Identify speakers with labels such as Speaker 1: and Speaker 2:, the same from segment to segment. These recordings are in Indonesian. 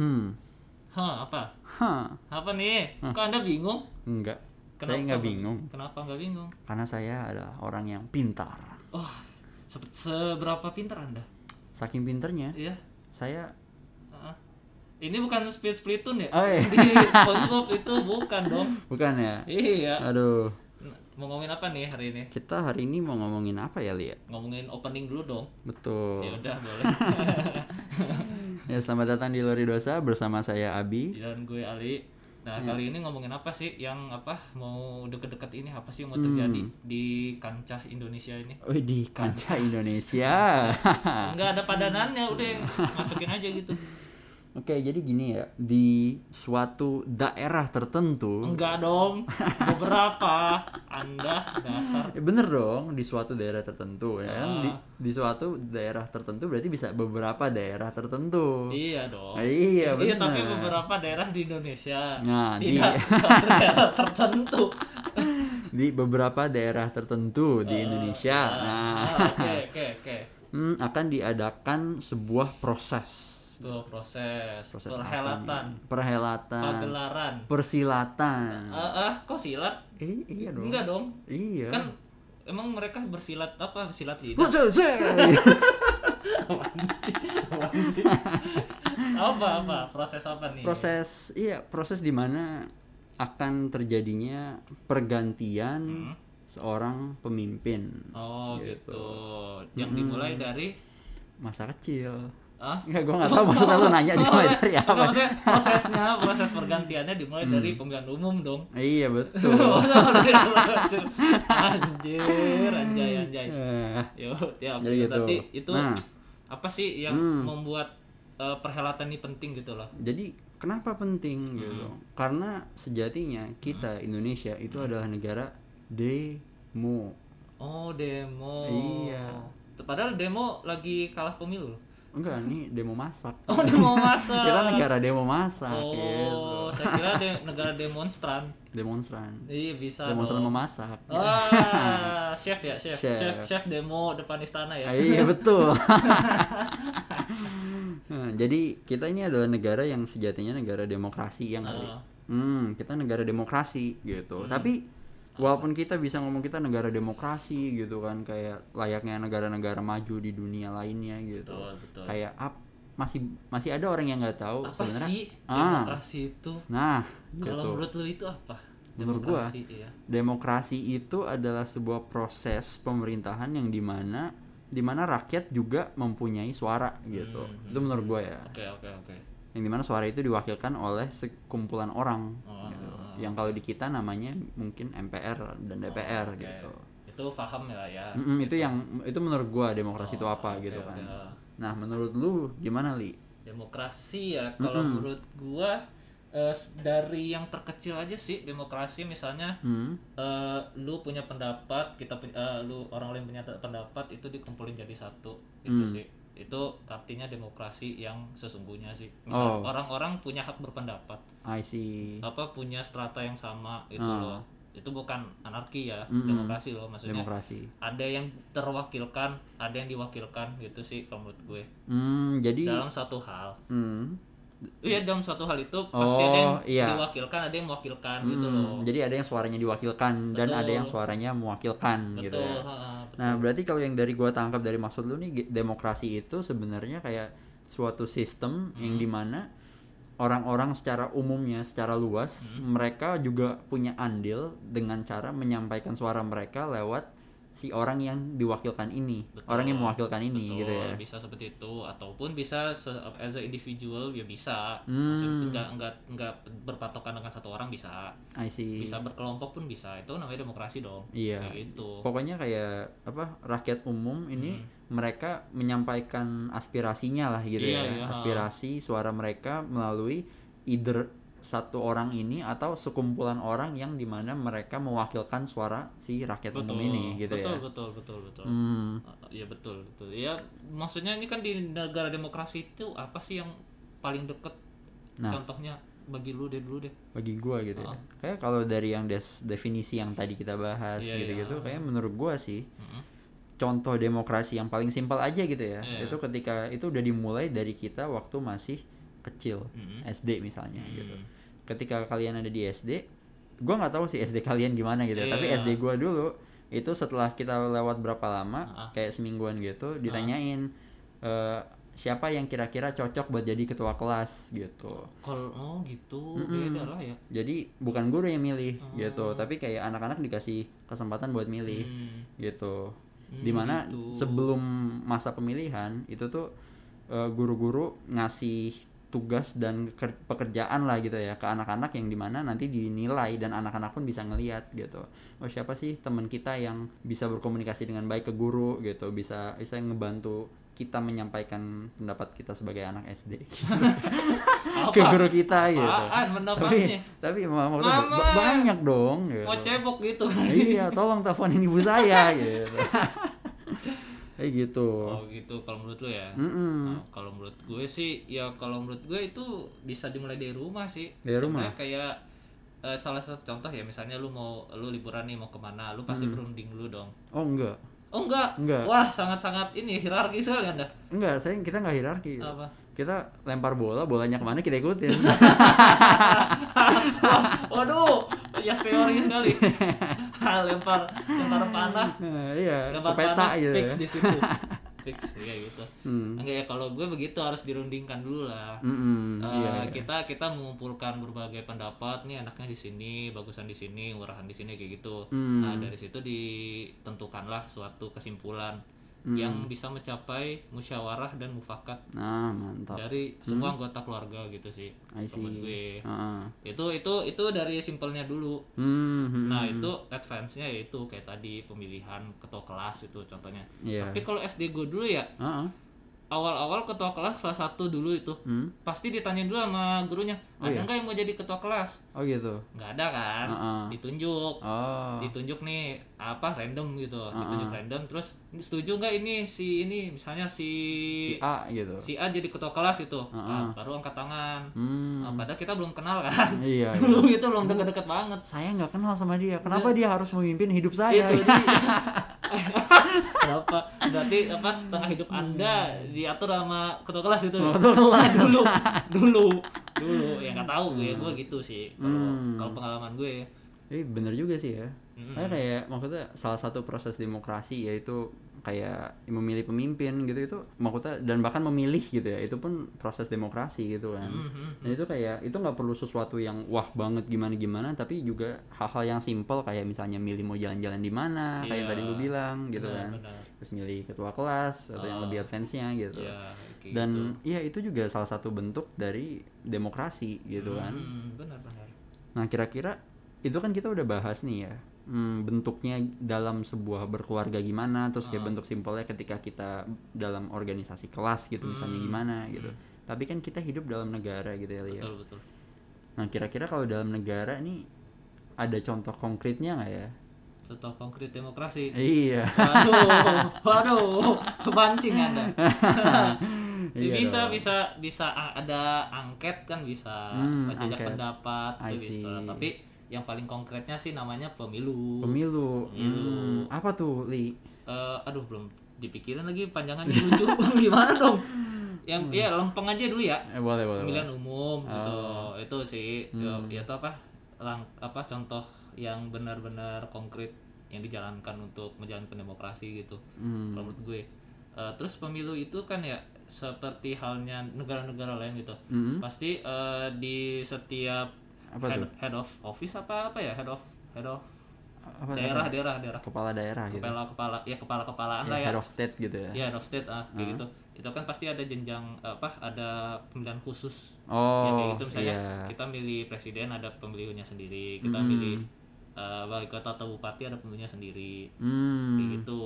Speaker 1: Hmm.
Speaker 2: Hah, apa?
Speaker 1: Hah.
Speaker 2: Apa nih? Kok Anda bingung?
Speaker 1: Enggak. saya nggak bingung.
Speaker 2: Kenapa nggak bingung?
Speaker 1: Karena saya adalah orang yang pintar.
Speaker 2: Oh, se- seberapa pintar Anda?
Speaker 1: Saking pinternya,
Speaker 2: Iya.
Speaker 1: saya
Speaker 2: Heeh. Ini bukan Speed Splatoon ya?
Speaker 1: Oh, iya.
Speaker 2: Di SpongeBob itu bukan dong.
Speaker 1: bukan ya.
Speaker 2: Iya.
Speaker 1: Aduh.
Speaker 2: Nah, Mau ngomongin apa nih hari ini?
Speaker 1: Kita hari ini mau ngomongin apa ya, Lia?
Speaker 2: Ngomongin opening dulu dong. Ya
Speaker 1: Betul.
Speaker 2: udah boleh.
Speaker 1: Ya, selamat datang di Lori Dosa bersama saya Abi.
Speaker 2: Dan gue Ali. Nah,
Speaker 1: Ya.
Speaker 2: kali ini ngomongin apa sih yang apa mau deket-deket ini apa sih yang
Speaker 1: Hmm.
Speaker 2: mau terjadi di kancah Indonesia ini?
Speaker 1: Oh, di kancah Indonesia. Ah.
Speaker 2: Enggak ada padanannya, udah masukin aja gitu.
Speaker 1: Oke, jadi gini ya, di suatu daerah tertentu,
Speaker 2: Enggak dong, beberapa Anda dasar.
Speaker 1: Eh, bener dong, di suatu daerah tertentu ya kan? Di,
Speaker 2: Ah.
Speaker 1: di suatu daerah tertentu berarti bisa beberapa daerah tertentu.
Speaker 2: Iya dong.
Speaker 1: Nah, iya,
Speaker 2: Iya, tapi
Speaker 1: benar.
Speaker 2: beberapa daerah di Indonesia
Speaker 1: Nah,
Speaker 2: tidak
Speaker 1: di-
Speaker 2: satu daerah tertentu.
Speaker 1: Di beberapa daerah tertentu
Speaker 2: Eh,
Speaker 1: di Indonesia, nah,
Speaker 2: Ah, Oke, oke, oke.
Speaker 1: hmm, akan diadakan sebuah proses,
Speaker 2: Tuh proses,
Speaker 1: proses apa
Speaker 2: perhelatan,
Speaker 1: nih? Nah. perhelatan,
Speaker 2: pagelaran. Ah,
Speaker 1: persilatan.
Speaker 2: ah, kok silat?
Speaker 1: Eh, iya dong.
Speaker 2: Enggak dong.
Speaker 1: Iya.
Speaker 2: Kan emang mereka bersilat apa? Silat lidah.
Speaker 1: Proses.
Speaker 2: Apaan sih? Apaan sih? apa apa proses apa nih?
Speaker 1: proses iya proses di mana akan terjadinya pergantian
Speaker 2: Hmm.
Speaker 1: seorang pemimpin
Speaker 2: Oh
Speaker 1: Gitu.
Speaker 2: gitu. Yang dimulai dari
Speaker 1: masa kecil
Speaker 2: ah
Speaker 1: Enggak, gue nggak tahu maksudnya lu nanya dimulai dari
Speaker 2: Oh, Enggak,
Speaker 1: apa Hmm.
Speaker 2: maksudnya prosesnya, proses pergantiannya dimulai dari pemilihan umum dong. Oh,
Speaker 1: iya
Speaker 2: iya,
Speaker 1: betul
Speaker 2: anjir, anjay, anjay.
Speaker 1: Eh,
Speaker 2: Yo, ya,
Speaker 1: Jadi gitu.
Speaker 2: berarti itu
Speaker 1: Nah.
Speaker 2: apa sih yang
Speaker 1: Hmm.
Speaker 2: membuat eh, perhelatan ini penting gitu loh?
Speaker 1: jadi kenapa penting
Speaker 2: Hmm.
Speaker 1: gitu karena sejatinya kita Indonesia itu
Speaker 2: Hmm.
Speaker 1: adalah negara demo
Speaker 2: Oh, demo.
Speaker 1: Iya.
Speaker 2: Padahal demo lagi kalah pemilu.
Speaker 1: enggak nih demo masak
Speaker 2: Oh, demo masa.
Speaker 1: kita negara demo masak gitu
Speaker 2: Oh, saya kira de- negara demonstran.
Speaker 1: demonstran
Speaker 2: Iya, bisa.
Speaker 1: demonstran
Speaker 2: dong.
Speaker 1: memasak
Speaker 2: Ah, Wah, chef ya, chef.
Speaker 1: Chef.
Speaker 2: chef. Chef demo depan istana ya.
Speaker 1: Ah, iya betul. Nah, jadi kita ini adalah negara yang sejatinya negara demokrasi yang kali.
Speaker 2: Ah.
Speaker 1: Hmm, kita negara demokrasi
Speaker 2: Hmm.
Speaker 1: gitu. Tapi walaupun kita bisa ngomong kita negara demokrasi gitu kan kayak layaknya negara-negara maju di dunia lainnya gitu.
Speaker 2: Betul, betul.
Speaker 1: Kayak ap- masih masih ada orang yang nggak tahu
Speaker 2: Apa
Speaker 1: sebenarnya.
Speaker 2: sih
Speaker 1: Ah,
Speaker 2: demokrasi itu?
Speaker 1: nah,
Speaker 2: Kalau
Speaker 1: gitu.
Speaker 2: menurut lu itu apa?
Speaker 1: Menurut gua.
Speaker 2: demokrasi iya.
Speaker 1: Demokrasi itu adalah sebuah proses pemerintahan yang dimana dimana rakyat juga mempunyai suara gitu.
Speaker 2: Hmm.
Speaker 1: Itu menurut gue ya.
Speaker 2: Oke, oke, oke.
Speaker 1: Yang dimana suara itu diwakilkan oleh sekumpulan orang.
Speaker 2: Oh. Oh,
Speaker 1: gitu. Yang kalau di kita namanya mungkin MPR dan DPR
Speaker 2: Oke.
Speaker 1: gitu.
Speaker 2: Itu paham ya ya.
Speaker 1: Mm-mm, itu yang itu menurut gue demokrasi itu
Speaker 2: Oh,
Speaker 1: apa
Speaker 2: oke,
Speaker 1: gitu kan.
Speaker 2: oke.
Speaker 1: Nah menurut lu gimana li?
Speaker 2: Demokrasi ya kalau
Speaker 1: Mm-mm.
Speaker 2: menurut gua eh, dari yang terkecil aja sih demokrasi misalnya
Speaker 1: Hmm?
Speaker 2: eh, lu punya pendapat kita pu- eh, lu orang lain punya pendapat itu dikumpulin jadi satu itu
Speaker 1: Hmm.
Speaker 2: sih itu artinya demokrasi yang sesungguhnya sih
Speaker 1: Oh.
Speaker 2: Misal orang-orang punya hak berpendapat
Speaker 1: I see.
Speaker 2: apa punya strata yang sama itu
Speaker 1: Ah.
Speaker 2: loh itu bukan anarki ya
Speaker 1: Mm-mm.
Speaker 2: demokrasi loh maksudnya
Speaker 1: Demokrasi.
Speaker 2: ada yang terwakilkan ada yang diwakilkan gitu sih kalau menurut gue
Speaker 1: Hmm, jadi.
Speaker 2: dalam satu hal
Speaker 1: Hmm.
Speaker 2: iya dalam satu hal itu pasti ada yang
Speaker 1: Oh, iya.
Speaker 2: diwakilkan ada yang mewakilkan gitu
Speaker 1: Hmm,
Speaker 2: loh
Speaker 1: Jadi ada yang suaranya diwakilkan dan
Speaker 2: Betul.
Speaker 1: ada yang suaranya mewakilkan gitu
Speaker 2: betul
Speaker 1: ya.
Speaker 2: ha-ha, betul.
Speaker 1: Nah, berarti kalau yang dari gua tangkap dari maksud lu nih ge- demokrasi itu sebenarnya kayak suatu sistem yang
Speaker 2: Hmm.
Speaker 1: dimana orang-orang secara umumnya, secara luas,
Speaker 2: Hmm.
Speaker 1: mereka juga punya andil dengan cara menyampaikan suara mereka lewat si orang yang diwakilkan ini,
Speaker 2: Betul.
Speaker 1: orang yang mewakilkan ini
Speaker 2: Betul,
Speaker 1: gitu ya.
Speaker 2: bisa seperti itu ataupun bisa se- as a individual ya bisa
Speaker 1: Hmm.
Speaker 2: Maksudnya nggak nggak nggak berpatokan dengan satu orang bisa
Speaker 1: Hmm, I see.
Speaker 2: bisa berkelompok pun bisa itu namanya demokrasi dong
Speaker 1: Iya.
Speaker 2: Kayak gitu
Speaker 1: Pokoknya kayak apa rakyat umum ini
Speaker 2: Hmm.
Speaker 1: mereka menyampaikan aspirasinya lah gitu
Speaker 2: Iya,
Speaker 1: ya.
Speaker 2: iya.
Speaker 1: Aspirasi suara mereka melalui either satu orang ini atau sekumpulan orang yang dimana mereka mewakilkan suara si rakyat umum ini gitu
Speaker 2: betul,
Speaker 1: ya.
Speaker 2: betul betul betul
Speaker 1: Hmm,
Speaker 2: Iya betul betul. Ya maksudnya ini kan di negara demokrasi itu apa sih yang paling deket?
Speaker 1: Nah.
Speaker 2: Contohnya bagi lu deh dulu deh.
Speaker 1: bagi gua gitu ya.
Speaker 2: Oh.
Speaker 1: Kayak kalau dari yang des- definisi yang tadi kita bahas
Speaker 2: Iya,
Speaker 1: gitu-gitu
Speaker 2: iya.
Speaker 1: kayak menurut gua sih
Speaker 2: Mm-mm.
Speaker 1: contoh demokrasi yang paling simpel aja gitu ya.
Speaker 2: Iya.
Speaker 1: Itu ketika itu udah dimulai dari kita waktu masih kecil
Speaker 2: Mhm.
Speaker 1: SD misalnya gitu
Speaker 2: Mhm.
Speaker 1: ketika kalian ada di SD gua nggak tahu sih SD kalian gimana gitu tapi
Speaker 2: Iya.
Speaker 1: SD gua dulu itu setelah kita lewat berapa
Speaker 2: Ah.
Speaker 1: lama kayak semingguan gitu ditanyain eh, siapa yang kira-kira cocok buat jadi ketua kelas gitu
Speaker 2: Kalau oh gitu
Speaker 1: Mm-mm.
Speaker 2: beda lah ya.
Speaker 1: jadi bukan guru yang milih
Speaker 2: Oh.
Speaker 1: gitu tapi kayak anak-anak dikasih kesempatan buat milih
Speaker 2: Hmm.
Speaker 1: gitu
Speaker 2: Hmm,
Speaker 1: dimana
Speaker 2: gitu.
Speaker 1: sebelum masa pemilihan itu tuh eh, guru-guru ngasih tugas dan ker- pekerjaan lah gitu ya ke anak-anak yang dimana nanti dinilai dan anak-anak pun bisa ngeliat gitu oh siapa sih teman kita yang bisa berkomunikasi dengan baik ke guru gitu bisa bisa ngebantu kita menyampaikan pendapat kita sebagai anak SD
Speaker 2: Apa?
Speaker 1: ke guru kita gitu
Speaker 2: Apaan
Speaker 1: tapi
Speaker 2: mendapatnya?
Speaker 1: tapi mama tuh ba-
Speaker 2: Mama!
Speaker 1: banyak dong gitu.
Speaker 2: Mau cebok gitu.
Speaker 1: iya tolong teleponin ibu saya gitu kayak gitu
Speaker 2: Oh gitu kalau menurut lu ya.
Speaker 1: Mm-mm.
Speaker 2: Nah, kalau menurut gue sih ya kalau menurut gue itu bisa dimulai dari rumah sih.
Speaker 1: Dari rumah?
Speaker 2: Sebenarnya kayak eh, salah satu contoh ya misalnya lu mau lu liburan nih mau kemana lu pasti berunding dulu dong.
Speaker 1: oh enggak
Speaker 2: Oh enggak.
Speaker 1: Hmm. Enggak.
Speaker 2: Wah, sangat-sangat ini hierarki sekali Anda.
Speaker 1: enggak saya kita nggak hierarki gitu.
Speaker 2: Apa?
Speaker 1: kita lempar bola bolanya kemana kita ikutin
Speaker 2: Waduh, ya teori sekali. Ah, lempar lempar panah,
Speaker 1: nah, iya
Speaker 2: lempar
Speaker 1: ke peta
Speaker 2: panah
Speaker 1: gitu
Speaker 2: fix
Speaker 1: ya
Speaker 2: di situ. fix ya gitu.
Speaker 1: Hmm.
Speaker 2: Enggak ya kalau gue begitu harus dirundingkan dulu lah.
Speaker 1: Mm-mm,
Speaker 2: Eh,
Speaker 1: iya, iya.
Speaker 2: kita kita mengumpulkan berbagai pendapat nih anaknya di sini bagusan di sini murahan di sini kayak gitu
Speaker 1: Hmm.
Speaker 2: nah dari situ ditentukanlah suatu kesimpulan
Speaker 1: Hmm.
Speaker 2: yang bisa mencapai musyawarah dan mufakat
Speaker 1: nah mantap
Speaker 2: dari semua anggota keluarga gitu sih
Speaker 1: Hmm. I
Speaker 2: menurut Ya, gue
Speaker 1: see Heeh.
Speaker 2: itu itu itu dari simpelnya dulu
Speaker 1: Hmm, hmm,
Speaker 2: nah
Speaker 1: hmm.
Speaker 2: itu advance-nya yaitu kayak tadi pemilihan ketua kelas itu contohnya
Speaker 1: Iya.
Speaker 2: tapi kalau SD gue dulu ya
Speaker 1: Heeh.
Speaker 2: awal-awal ketua kelas kelas satu dulu itu
Speaker 1: Hmm.
Speaker 2: pasti ditanyain dulu sama gurunya
Speaker 1: Oh,
Speaker 2: ada
Speaker 1: iya?
Speaker 2: nggak yang mau jadi ketua kelas
Speaker 1: oh gitu
Speaker 2: nggak ada kan
Speaker 1: Heeh.
Speaker 2: ditunjuk
Speaker 1: oh
Speaker 2: ditunjuk nih apa random gitu
Speaker 1: Heeh.
Speaker 2: ditunjuk random terus setuju nggak ini si ini misalnya si
Speaker 1: si A gitu
Speaker 2: si A jadi ketua kelas itu
Speaker 1: Heeh.
Speaker 2: Ah, baru angkat tangan
Speaker 1: hmm.
Speaker 2: Nah, padahal kita belum kenal kan
Speaker 1: iya, iya.
Speaker 2: dulu itu belum deket-deket banget
Speaker 1: saya nggak kenal sama dia kenapa dia harus memimpin hidup saya
Speaker 2: Itu dia. Berapa? Berarti apa setengah hidup Anda diatur sama ketua kelas itu.
Speaker 1: Sama ketua kelas.
Speaker 2: dulu, dulu, dulu. Ya nggak tahu gue, gue gitu sih. Kalau
Speaker 1: Hmm.
Speaker 2: kalau pengalaman gue ya.
Speaker 1: Tapi bener juga sih ya.
Speaker 2: Mm-mm.
Speaker 1: Karena kayak maksudnya salah satu proses demokrasi yaitu kayak memilih pemimpin gitu itu maksudnya dan bahkan memilih gitu ya itu pun proses demokrasi gitu kan.
Speaker 2: Mhm.
Speaker 1: Dan itu kayak itu nggak perlu sesuatu yang wah banget gimana gimana tapi juga hal-hal yang simpel kayak misalnya milih mau jalan-jalan di mana kayak
Speaker 2: Iya.
Speaker 1: tadi lu bilang gitu
Speaker 2: Benar,
Speaker 1: kan.
Speaker 2: benar.
Speaker 1: Terus milih ketua kelas atau yang
Speaker 2: Ah.
Speaker 1: lebih advance-nya gitu.
Speaker 2: Ya, kayak gitu.
Speaker 1: Dan iya itu juga salah satu bentuk dari demokrasi gitu kan.
Speaker 2: Mhm, benar, benar.
Speaker 1: Nah, kira-kira itu kan kita udah bahas nih ya. Hmm, bentuknya dalam sebuah berkeluarga gimana, terus kayak
Speaker 2: Ah.
Speaker 1: bentuk simpelnya ketika kita dalam organisasi kelas gitu misalnya
Speaker 2: Hmm.
Speaker 1: gimana gitu. Tapi kan kita hidup dalam negara gitu ya, Li, ya.
Speaker 2: Betul, betul.
Speaker 1: Nah, kira-kira kalau dalam negara nih ada contoh konkretnya nggak ya?
Speaker 2: Contoh konkret demokrasi.
Speaker 1: Iya.
Speaker 2: Waduh, waduh, kepancing Anda.
Speaker 1: Iya
Speaker 2: bisa
Speaker 1: dong.
Speaker 2: bisa bisa a- ada angket kan bisa
Speaker 1: Hmm,
Speaker 2: pajak
Speaker 1: angket.
Speaker 2: pendapat
Speaker 1: I
Speaker 2: itu bisa
Speaker 1: see.
Speaker 2: tapi yang paling konkretnya sih namanya pemilu
Speaker 1: Pemilu.
Speaker 2: Pemilu.
Speaker 1: Hmm, apa tuh, Li?
Speaker 2: Eh, aduh belum dipikirin lagi panjangannya lucu gimana dong yang
Speaker 1: Hmm.
Speaker 2: ya lempeng aja dulu ya
Speaker 1: Eh, boleh, boleh. boleh.
Speaker 2: pemilihan umum gitu itu sih
Speaker 1: Oh. Hmm.
Speaker 2: ya itu apa lang apa contoh yang benar-benar konkret yang dijalankan untuk menjalankan demokrasi gitu
Speaker 1: Hmm.
Speaker 2: kalau menurut gue Eh, terus pemilu itu kan ya seperti halnya negara-negara lain gitu
Speaker 1: Mm-mm.
Speaker 2: pasti eh, di setiap
Speaker 1: hmm, Apa
Speaker 2: head,
Speaker 1: tuh?
Speaker 2: head of office apa apa ya head of head of
Speaker 1: Apa-
Speaker 2: daerah
Speaker 1: apa?
Speaker 2: daerah daerah
Speaker 1: kepala daerah gitu.
Speaker 2: kepala kepala ya kepala kepalaan
Speaker 1: Ya,
Speaker 2: lah ya
Speaker 1: head of state gitu ya.
Speaker 2: ya head of state ah kayak gitu itu kan pasti ada jenjang apa ada pemilihan khusus
Speaker 1: Oh,
Speaker 2: ya, kayak gitu misalnya
Speaker 1: iya.
Speaker 2: kita milih presiden ada pemilunya sendiri kita
Speaker 1: Hmm.
Speaker 2: milih eh, wali kota atau bupati ada pemilunya sendiri
Speaker 1: Hmm.
Speaker 2: kayak gitu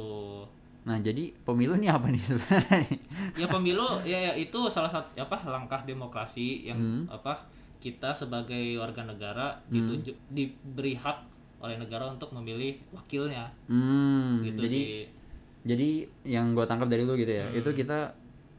Speaker 1: Nah, jadi pemilu ini apa nih sebenarnya? nih?
Speaker 2: ya pemilu ya, ya itu salah satu apa langkah demokrasi yang
Speaker 1: Hmm.
Speaker 2: apa kita sebagai warga negara
Speaker 1: Hmm.
Speaker 2: ditunjuk diberi hak oleh negara untuk memilih wakilnya
Speaker 1: Hmm,
Speaker 2: gitu
Speaker 1: jadi
Speaker 2: sih
Speaker 1: jadi yang gua tangkap dari lu gitu ya,
Speaker 2: Hmm.
Speaker 1: itu kita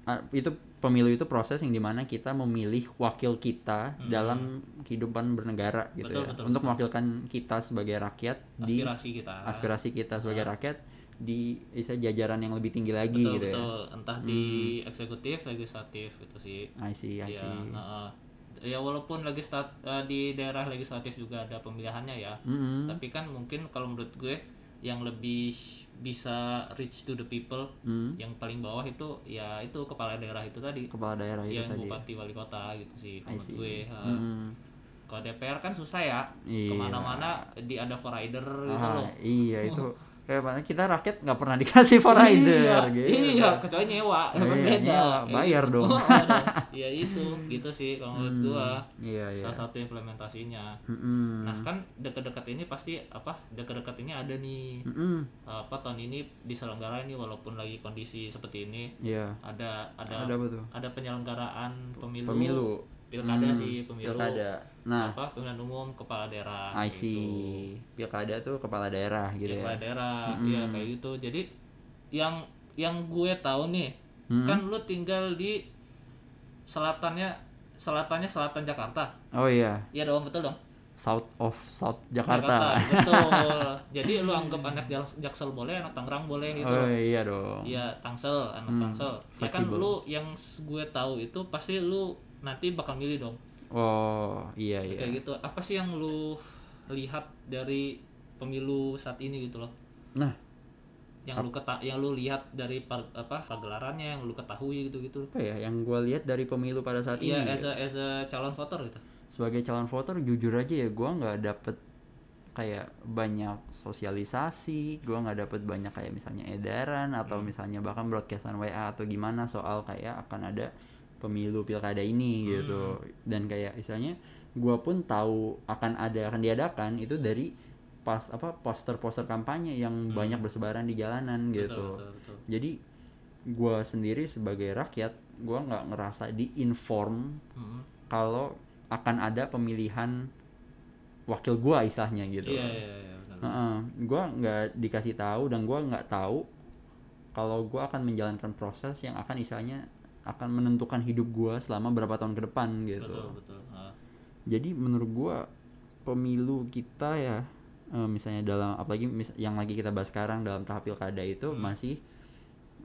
Speaker 1: ah, itu pemilu itu proses yang dimana kita memilih wakil kita
Speaker 2: Hmm.
Speaker 1: dalam kehidupan bernegara gitu
Speaker 2: Betul,
Speaker 1: ya,
Speaker 2: betul,
Speaker 1: untuk
Speaker 2: betul.
Speaker 1: mewakilkan kita sebagai rakyat di
Speaker 2: aspirasi kita
Speaker 1: aspirasi kita sebagai rakyat di bisa jajaran yang lebih tinggi lagi
Speaker 2: betul
Speaker 1: gitu Hmm.
Speaker 2: betul entah di eksekutif legislatif itu sih
Speaker 1: ya. I see, I
Speaker 2: ya
Speaker 1: see.
Speaker 2: heeh. ya walaupun legislat eh, di daerah legislatif juga ada pemilihannya ya
Speaker 1: Mm-mm.
Speaker 2: tapi kan mungkin kalau menurut gue yang lebih bisa reach to the people
Speaker 1: Mm.
Speaker 2: yang paling bawah itu ya itu kepala daerah itu tadi
Speaker 1: Kepala daerah Nah, itu
Speaker 2: yang
Speaker 1: tadi.
Speaker 2: bupati wali kota gitu sih
Speaker 1: I
Speaker 2: menurut
Speaker 1: see.
Speaker 2: gue heeh.
Speaker 1: Mm-mm.
Speaker 2: kalau DPR kan susah ya
Speaker 1: Iya.
Speaker 2: kemana-mana di ada for rider gitu
Speaker 1: Ah,
Speaker 2: loh
Speaker 1: Iya itu. Kayak mana kita rakyat nggak pernah dikasih for rider
Speaker 2: iya,
Speaker 1: gitu.
Speaker 2: iya kecuali nyewa
Speaker 1: Iya,
Speaker 2: berbeda.
Speaker 1: nyewa,
Speaker 2: Kayak
Speaker 1: bayar
Speaker 2: gitu.
Speaker 1: dong.
Speaker 2: Aduh, ya itu gitu sih kalau menurut
Speaker 1: Hmm,
Speaker 2: gua
Speaker 1: Iya iya. Hmm,
Speaker 2: salah satu implementasinya
Speaker 1: Mm-mm.
Speaker 2: nah kan dekat-dekat ini pasti apa dekat-dekat ini ada nih
Speaker 1: Mm-mm.
Speaker 2: apa tahun ini diselenggara ini walaupun lagi kondisi seperti ini
Speaker 1: Iya.
Speaker 2: ada ada
Speaker 1: Ada
Speaker 2: ada,
Speaker 1: apa tuh?
Speaker 2: penyelenggaraan Ya. pemilu,
Speaker 1: Pemilu.
Speaker 2: pilkada
Speaker 1: Hmm,
Speaker 2: sih pemilu
Speaker 1: Pilkada. Nah,
Speaker 2: apa pemilihan umum kepala daerah
Speaker 1: I
Speaker 2: gitu.
Speaker 1: see. Pilkada tuh kepala daerah gitu
Speaker 2: Kepala
Speaker 1: ya.
Speaker 2: daerah
Speaker 1: Mm-mm.
Speaker 2: ya kayak gitu jadi yang yang gue tahu nih
Speaker 1: Mm-mm.
Speaker 2: kan lu tinggal di selatannya selatannya selatan Jakarta
Speaker 1: Oh iya,
Speaker 2: Iya dong betul dong
Speaker 1: South of South Jakarta.
Speaker 2: betul jadi lu anggap anak Jak- Jaksel boleh anak Tangerang boleh gitu
Speaker 1: Oh
Speaker 2: loh.
Speaker 1: iya dong.
Speaker 2: Iya Tangsel anak
Speaker 1: Hmm,
Speaker 2: Tangsel ya kan
Speaker 1: fleksibel.
Speaker 2: lu yang s- gue tahu itu pasti lu nanti bakal milih dong
Speaker 1: Oh iya iya.
Speaker 2: kayak gitu apa sih yang lu lihat dari pemilu saat ini gitu loh
Speaker 1: Nah,
Speaker 2: yang lu keta yang lu lihat dari par- apa pergelarannya yang lu ketahui gitu gitu
Speaker 1: apa ya yang gue lihat dari pemilu pada saat
Speaker 2: iya
Speaker 1: ini ya?
Speaker 2: as a as a calon voter gitu
Speaker 1: sebagai calon voter jujur aja ya gua nggak dapet kayak banyak sosialisasi gua nggak dapet banyak kayak misalnya edaran atau
Speaker 2: Hmm.
Speaker 1: misalnya bahkan broadcastan WA atau gimana soal kayak akan ada pemilu pilkada ini gitu
Speaker 2: Hmm.
Speaker 1: dan kayak misalnya gua pun tahu akan ada akan diadakan itu dari pas apa poster-poster kampanye yang banyak bersebaran di jalanan gitu
Speaker 2: Hmm. betul betul, betul.
Speaker 1: jadi gua sendiri sebagai rakyat gua nggak ngerasa diinform
Speaker 2: Mm-mm.
Speaker 1: kalau akan ada pemilihan wakil gua istilahnya gitu
Speaker 2: iya iya iya benar
Speaker 1: Heeh. gua nggak dikasih tahu dan gua nggak tahu kalau gua akan menjalankan proses yang akan istilahnya akan menentukan hidup gua selama berapa tahun ke depan gitu
Speaker 2: betul betul Ah.
Speaker 1: jadi menurut gua pemilu kita ya eh, misalnya dalam apalagi mis- yang lagi kita bahas sekarang dalam tahap pilkada itu
Speaker 2: Hmm.
Speaker 1: masih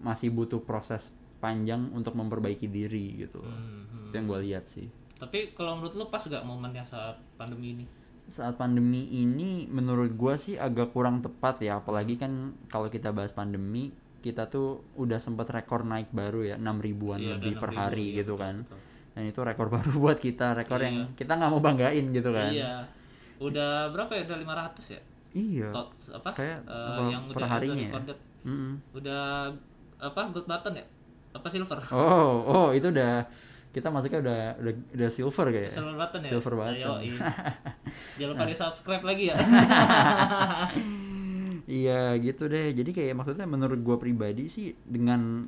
Speaker 1: masih butuh proses panjang untuk memperbaiki diri gitu
Speaker 2: Hmm, hmm.
Speaker 1: itu yang gua lihat sih
Speaker 2: tapi kalau menurut lu pas gak momennya saat pandemi ini
Speaker 1: saat pandemi ini menurut gua sih agak kurang tepat ya apalagi kan kalau kita bahas pandemi kita tuh udah sempat rekor naik baru ya 6 ribuan
Speaker 2: Iya,
Speaker 1: lebih
Speaker 2: dan
Speaker 1: per
Speaker 2: 6.000,
Speaker 1: hari
Speaker 2: iya,
Speaker 1: gitu
Speaker 2: betul,
Speaker 1: kan
Speaker 2: betul.
Speaker 1: dan itu rekor baru buat kita rekor yang
Speaker 2: Iya.
Speaker 1: kita nggak mau banggain gitu kan
Speaker 2: iya udah berapa ya udah 500 ya
Speaker 1: iya
Speaker 2: Tot, apa
Speaker 1: Kayak
Speaker 2: Eh,
Speaker 1: apa
Speaker 2: yang
Speaker 1: per
Speaker 2: udah
Speaker 1: harinya ya?
Speaker 2: recorded
Speaker 1: Mm-mm.
Speaker 2: udah apa gold button ya apa silver
Speaker 1: oh oh itu udah kita masuknya udah udah, udah silver kayak
Speaker 2: silver button ya
Speaker 1: Iya. Silver button. Nah.
Speaker 2: Ayo, iya. jangan lupa di subscribe lagi ya
Speaker 1: Iya gitu deh. Jadi kayak maksudnya menurut gua pribadi sih dengan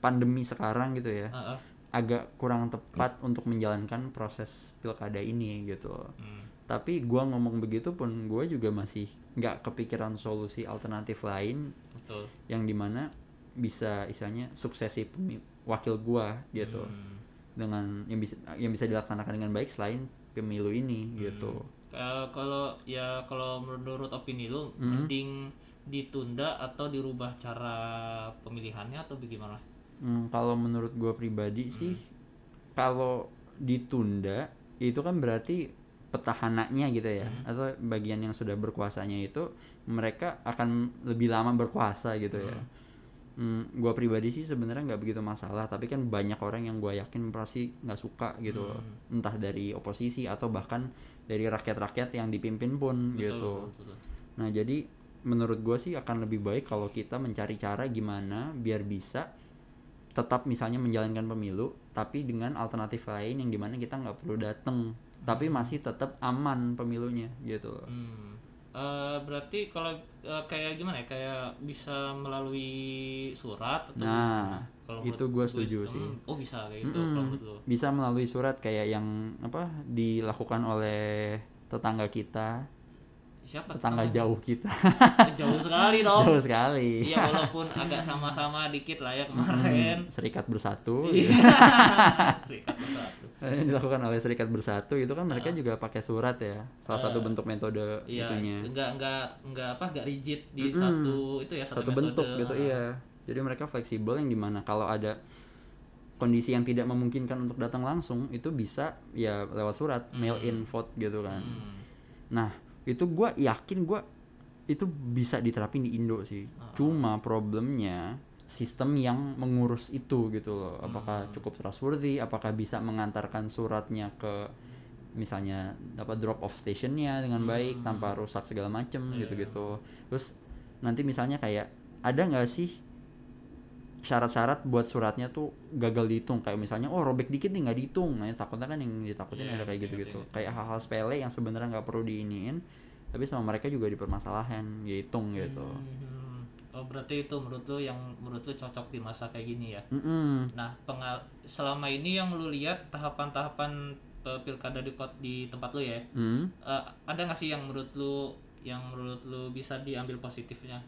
Speaker 1: pandemi sekarang gitu ya
Speaker 2: Ah, ah.
Speaker 1: agak kurang tepat untuk menjalankan proses pilkada ini gitu.
Speaker 2: Hmm.
Speaker 1: Tapi gua ngomong begitu pun gua juga masih nggak kepikiran solusi alternatif lain
Speaker 2: betul
Speaker 1: yang dimana bisa istilahnya suksesi pemi- wakil gua gitu
Speaker 2: Hmm.
Speaker 1: dengan yang bisa yang bisa dilaksanakan dengan baik selain pemilu ini gitu.
Speaker 2: Eh, kalau ya kalau menurut opini lu
Speaker 1: Hmm.
Speaker 2: mending ditunda atau dirubah cara pemilihannya atau bagaimana?
Speaker 1: Hmm, kalau menurut gua
Speaker 2: Hmm.
Speaker 1: pribadi sih, kalau ditunda itu kan berarti petahananya gitu ya,
Speaker 2: Hmm.
Speaker 1: atau bagian yang sudah berkuasanya itu mereka akan lebih lama berkuasa gitu ya. Hmm, gua pribadi sih sebenarnya nggak begitu masalah, tapi kan banyak orang yang gua yakin pasti nggak suka gitu, loh.
Speaker 2: Hmm.
Speaker 1: entah dari oposisi atau bahkan dari rakyat-rakyat yang dipimpin pun
Speaker 2: Betul,
Speaker 1: gitu.
Speaker 2: betul, betul.
Speaker 1: Nah, jadi menurut gue sih akan lebih baik kalau kita mencari cara gimana biar bisa tetap misalnya menjalankan pemilu, tapi dengan alternatif lain yang dimana kita nggak perlu datang, tapi masih tetap aman pemilunya gitu. loh.
Speaker 2: Hmm. Eh, berarti kalau eh, kayak gimana ya? Kayak bisa melalui surat atau
Speaker 1: Nah,
Speaker 2: gimana? Kalau
Speaker 1: itu
Speaker 2: menurut
Speaker 1: gua setuju
Speaker 2: hmm,
Speaker 1: sih.
Speaker 2: Oh, bisa kayak gitu
Speaker 1: Mm-mm.
Speaker 2: kalau menurut lu.
Speaker 1: Bisa melalui surat kayak yang apa dilakukan oleh tetangga kita
Speaker 2: siapa
Speaker 1: tetangga jauh kita
Speaker 2: jauh sekali dong
Speaker 1: jauh sekali
Speaker 2: Oh. Iya walaupun agak sama-sama dikit lah ya kemarin.
Speaker 1: Hmm, serikat bersatu gitu.
Speaker 2: Iya. Serikat bersatu.
Speaker 1: yang dilakukan oleh serikat bersatu itu kan mereka juga pakai surat ya salah satu bentuk metode
Speaker 2: Iya,
Speaker 1: itunya
Speaker 2: enggak enggak enggak apa enggak rigid di
Speaker 1: Mm-mm.
Speaker 2: satu itu ya satu,
Speaker 1: satu bentuk
Speaker 2: metode.
Speaker 1: gitu iya jadi mereka fleksibel yang dimana kalau ada kondisi yang tidak memungkinkan untuk datang langsung itu bisa ya lewat surat mail in vote gitu kan
Speaker 2: Hmm.
Speaker 1: nah itu gua yakin gua itu bisa diterapin di Indo sih cuma problemnya sistem yang mengurus itu gitu loh apakah cukup trustworthy apakah bisa mengantarkan suratnya ke misalnya dapat drop off stationnya dengan baik tanpa rusak segala macem gitu-gitu terus nanti misalnya kayak ada nggak sih syarat-syarat buat suratnya tuh gagal dihitung kayak misalnya oh robek dikit nih nggak dihitung nah takutnya kan yang ditakutin
Speaker 2: Iya,
Speaker 1: ada kayak
Speaker 2: ngerti,
Speaker 1: gitu-gitu
Speaker 2: ngerti,
Speaker 1: kayak hal-hal sepele yang sebenarnya nggak perlu diiniin tapi sama mereka juga dipermasalahan dihitung gitu
Speaker 2: Hmm. Oh berarti itu menurut lu yang menurut lu cocok di masa kayak gini ya.
Speaker 1: Mm-mm.
Speaker 2: Nah, pengal selama ini yang lu lihat tahapan-tahapan eh, pilkada di kot di tempat lu ya.
Speaker 1: Hmm,
Speaker 2: eh, ada nggak sih yang menurut lu yang menurut lu bisa diambil positifnya?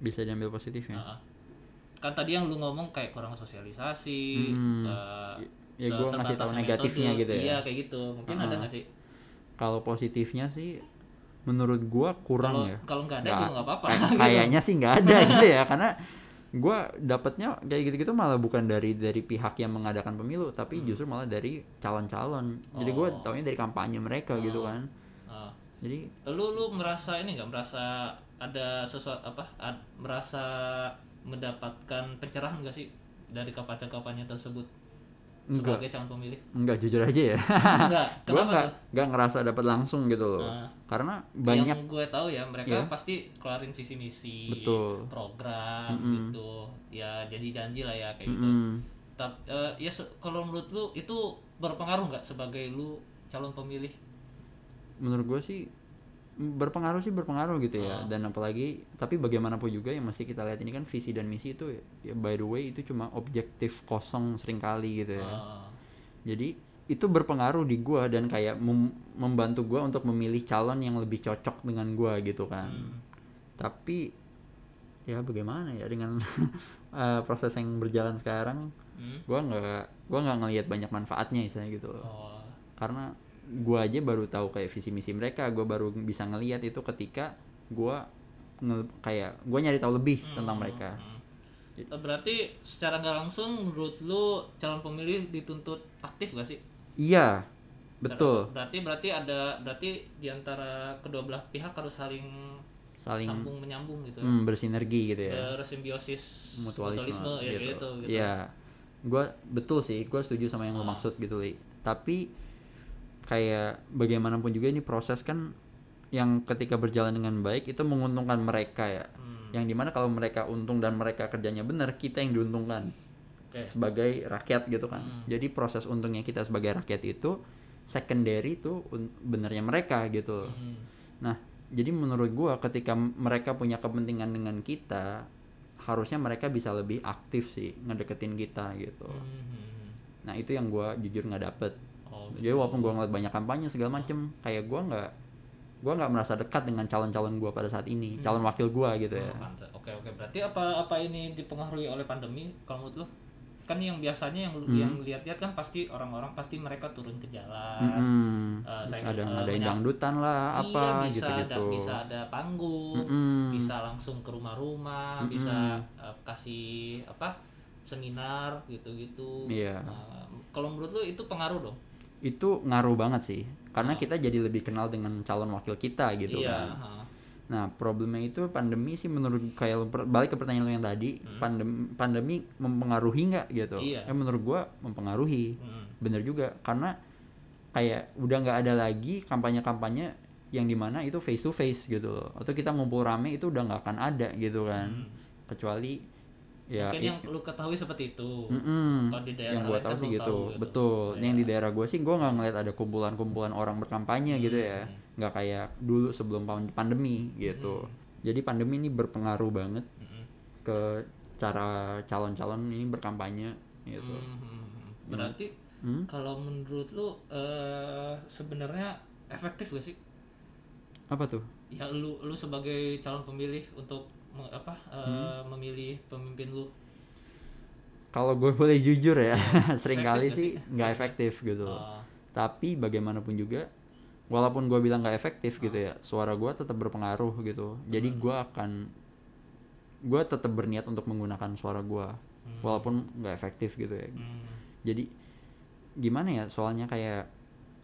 Speaker 1: bisa diambil positifnya
Speaker 2: Heeh. kan tadi yang lu ngomong kayak kurang sosialisasi
Speaker 1: Hmm.
Speaker 2: eh,
Speaker 1: ya
Speaker 2: ter-
Speaker 1: gue ngasih tahu
Speaker 2: terbatasnya
Speaker 1: negatifnya
Speaker 2: metode.
Speaker 1: gitu ya
Speaker 2: iya kayak gitu mungkin ada
Speaker 1: Ah.
Speaker 2: nggak sih
Speaker 1: kalau positifnya sih menurut gua kurang
Speaker 2: kalau
Speaker 1: ya
Speaker 2: kalau nggak ada
Speaker 1: Nggak.
Speaker 2: juga nggak apa-apa Gitu.
Speaker 1: Kay- kayaknya sih nggak ada gitu ya karena gue dapatnya kayak gitu-gitu malah bukan dari dari pihak yang mengadakan pemilu tapi justru malah dari calon-calon jadi gue
Speaker 2: Hmm. Oh.
Speaker 1: taunya dari kampanye mereka gitu
Speaker 2: Oh.
Speaker 1: kan
Speaker 2: Ah.
Speaker 1: jadi
Speaker 2: lu lu merasa ini nggak merasa ada sesuatu apa ad- merasa mendapatkan pencerahan nggak sih dari kampanye-kampanye tersebut
Speaker 1: Nggak.
Speaker 2: sebagai calon pemilih
Speaker 1: nggak jujur aja ya
Speaker 2: enggak
Speaker 1: gue
Speaker 2: kenapa
Speaker 1: nggak
Speaker 2: tuh?
Speaker 1: nggak ngerasa dapat langsung gitu loh
Speaker 2: Ah.
Speaker 1: karena banyak
Speaker 2: yang gue tahu ya mereka
Speaker 1: Iya.
Speaker 2: pasti keluarin visi misi
Speaker 1: Betul.
Speaker 2: program
Speaker 1: Mm-mm.
Speaker 2: gitu ya janji janji lah ya kayak gitu
Speaker 1: Mm-mm.
Speaker 2: tapi ya se- kalau menurut lu itu berpengaruh nggak sebagai lu calon pemilih
Speaker 1: menurut gue sih mm, berpengaruh sih berpengaruh gitu ya dan apalagi tapi bagaimanapun juga yang mesti kita lihat ini kan visi dan misi itu ya by the way itu cuma objektif kosong seringkali gitu ya
Speaker 2: Ah,
Speaker 1: Jadi itu berpengaruh di gua dan kayak mem- membantu gua untuk memilih calon yang lebih cocok dengan gua gitu kan.
Speaker 2: Hmm.
Speaker 1: Tapi ya bagaimana ya dengan eh, proses yang berjalan sekarang,
Speaker 2: hmm?
Speaker 1: gua nggak gua nggak ngelihat banyak manfaatnya istilahnya gitu loh.
Speaker 2: oh
Speaker 1: Karena gua aja baru tahu kayak visi misi mereka, gua baru bisa ngelihat itu ketika gua nge- kayak gua nyari tahu lebih tentang mereka.
Speaker 2: hmm. Eh, berarti secara nggak langsung menurut lu calon pemilih dituntut aktif gak sih
Speaker 1: Iya.
Speaker 2: Secara-
Speaker 1: Betul.
Speaker 2: berarti berarti ada berarti diantara kedua belah pihak harus saling
Speaker 1: Saling
Speaker 2: sambung menyambung gitu ya.
Speaker 1: hmm, bersinergi gitu ya.
Speaker 2: bersimbiosis
Speaker 1: mutualisme,
Speaker 2: Eh, ya
Speaker 1: gitu.
Speaker 2: Iya, gitu, gitu. Hmm.
Speaker 1: Iya. Gua betul sih, gua setuju sama yang lo maksud gitu, Li. Tapi kayak bagaimanapun juga ini proses kan yang ketika berjalan dengan baik itu menguntungkan mereka ya.
Speaker 2: Hmm,
Speaker 1: Yang dimana kalau mereka untung dan mereka kerjanya benar, kita yang diuntungkan
Speaker 2: oke.
Speaker 1: sebagai rakyat gitu kan.
Speaker 2: Hmm.
Speaker 1: Jadi proses untungnya kita sebagai rakyat itu secondary itu un- benernya mereka gitu.
Speaker 2: Hmm,
Speaker 1: Nah, jadi menurut gua ketika m- mereka punya kepentingan dengan kita, harusnya mereka bisa lebih aktif sih ngedeketin kita gitu.
Speaker 2: hmm, hmm.
Speaker 1: Nah, itu yang gua jujur nggak dapet.
Speaker 2: Oh,
Speaker 1: Jadi walaupun gua ngeliat banyak kampanye segala macem, kayak gua nggak gua nggak merasa dekat dengan calon-calon gua pada saat ini, calon wakil gua gitu ya.
Speaker 2: Hmm. Oh, pantes. Oke oke berarti apa apa ini dipengaruhi oleh pandemi kalau menurut lo? Kan yang biasanya yang
Speaker 1: Hmm.
Speaker 2: lu- yang lihat-lihat kan pasti orang-orang pasti mereka turun ke jalan.
Speaker 1: Mm-mm.
Speaker 2: Ah, eh,
Speaker 1: Terus
Speaker 2: saya-
Speaker 1: ada
Speaker 2: eh,
Speaker 1: ngadain
Speaker 2: menyap-
Speaker 1: dangdutan lah Hmm, apa
Speaker 2: iya bisa ada
Speaker 1: gitu-gitu. Hmm,
Speaker 2: bisa ada panggung,
Speaker 1: Mm-mm.
Speaker 2: bisa langsung ke rumah-rumah,
Speaker 1: Mm-mm.
Speaker 2: bisa
Speaker 1: hmm.
Speaker 2: eh, kasih apa seminar gitu-gitu.
Speaker 1: Iya.
Speaker 2: Nah, kalau menurut lo itu pengaruh dong?
Speaker 1: Itu ngaruh banget sih, karena kita jadi lebih kenal dengan calon wakil kita gitu kan.
Speaker 2: Ah. iya. ha.
Speaker 1: Nah, problemnya itu pandemi sih menurut kayak lu- per- balik ke pertanyaan lu yang tadi, pandem- pandemi mempengaruhi nggak gitu?
Speaker 2: Hmm. Iya.
Speaker 1: Eh, menurut gua mempengaruhi.
Speaker 2: Mm.
Speaker 1: Bener juga karena kayak udah nggak ada lagi kampanye-kampanye yang dimana itu face to face gitu loh. Atau kita ngumpul rame itu udah nggak akan ada gitu kan. Kecuali ya
Speaker 2: Hmm. Mungkin
Speaker 1: i-
Speaker 2: yang lu ketahui seperti itu.
Speaker 1: Mm-mm.
Speaker 2: Kalau gitu. di daerah
Speaker 1: yang gue
Speaker 2: lain
Speaker 1: tahu
Speaker 2: kan
Speaker 1: sih
Speaker 2: belum
Speaker 1: gitu,
Speaker 2: tahu gitu.
Speaker 1: betul. Ini Yang di
Speaker 2: Iya.
Speaker 1: daerah gue sih gue nggak ngeliat ada kumpulan-kumpulan orang berkampanye gitu ya,
Speaker 2: Hmm.
Speaker 1: nggak kayak dulu sebelum pan- pandemi gitu. Jadi pandemi ini berpengaruh banget
Speaker 2: Mm-mm.
Speaker 1: ke cara calon-calon ini berkampanye gitu.
Speaker 2: Mhm. Berarti
Speaker 1: Hmm?
Speaker 2: kalau menurut lu eh, sebenarnya efektif gak sih
Speaker 1: apa tuh
Speaker 2: ya lu lu sebagai calon pemilih untuk me- apa eh,
Speaker 1: Mm-hmm.
Speaker 2: memilih pemimpin lu
Speaker 1: kalau gue boleh jujur ya sering kali
Speaker 2: Efektif nggak
Speaker 1: sih
Speaker 2: sih?
Speaker 1: nggak efektif gitu loh.
Speaker 2: Ah,
Speaker 1: tapi bagaimanapun juga walaupun gue bilang nggak efektif gitu ya suara gue tetap berpengaruh gitu jadi gue akan gue tetap berniat untuk menggunakan suara gue walaupun nggak efektif gitu ya
Speaker 2: hmm,
Speaker 1: jadi gimana ya soalnya kayak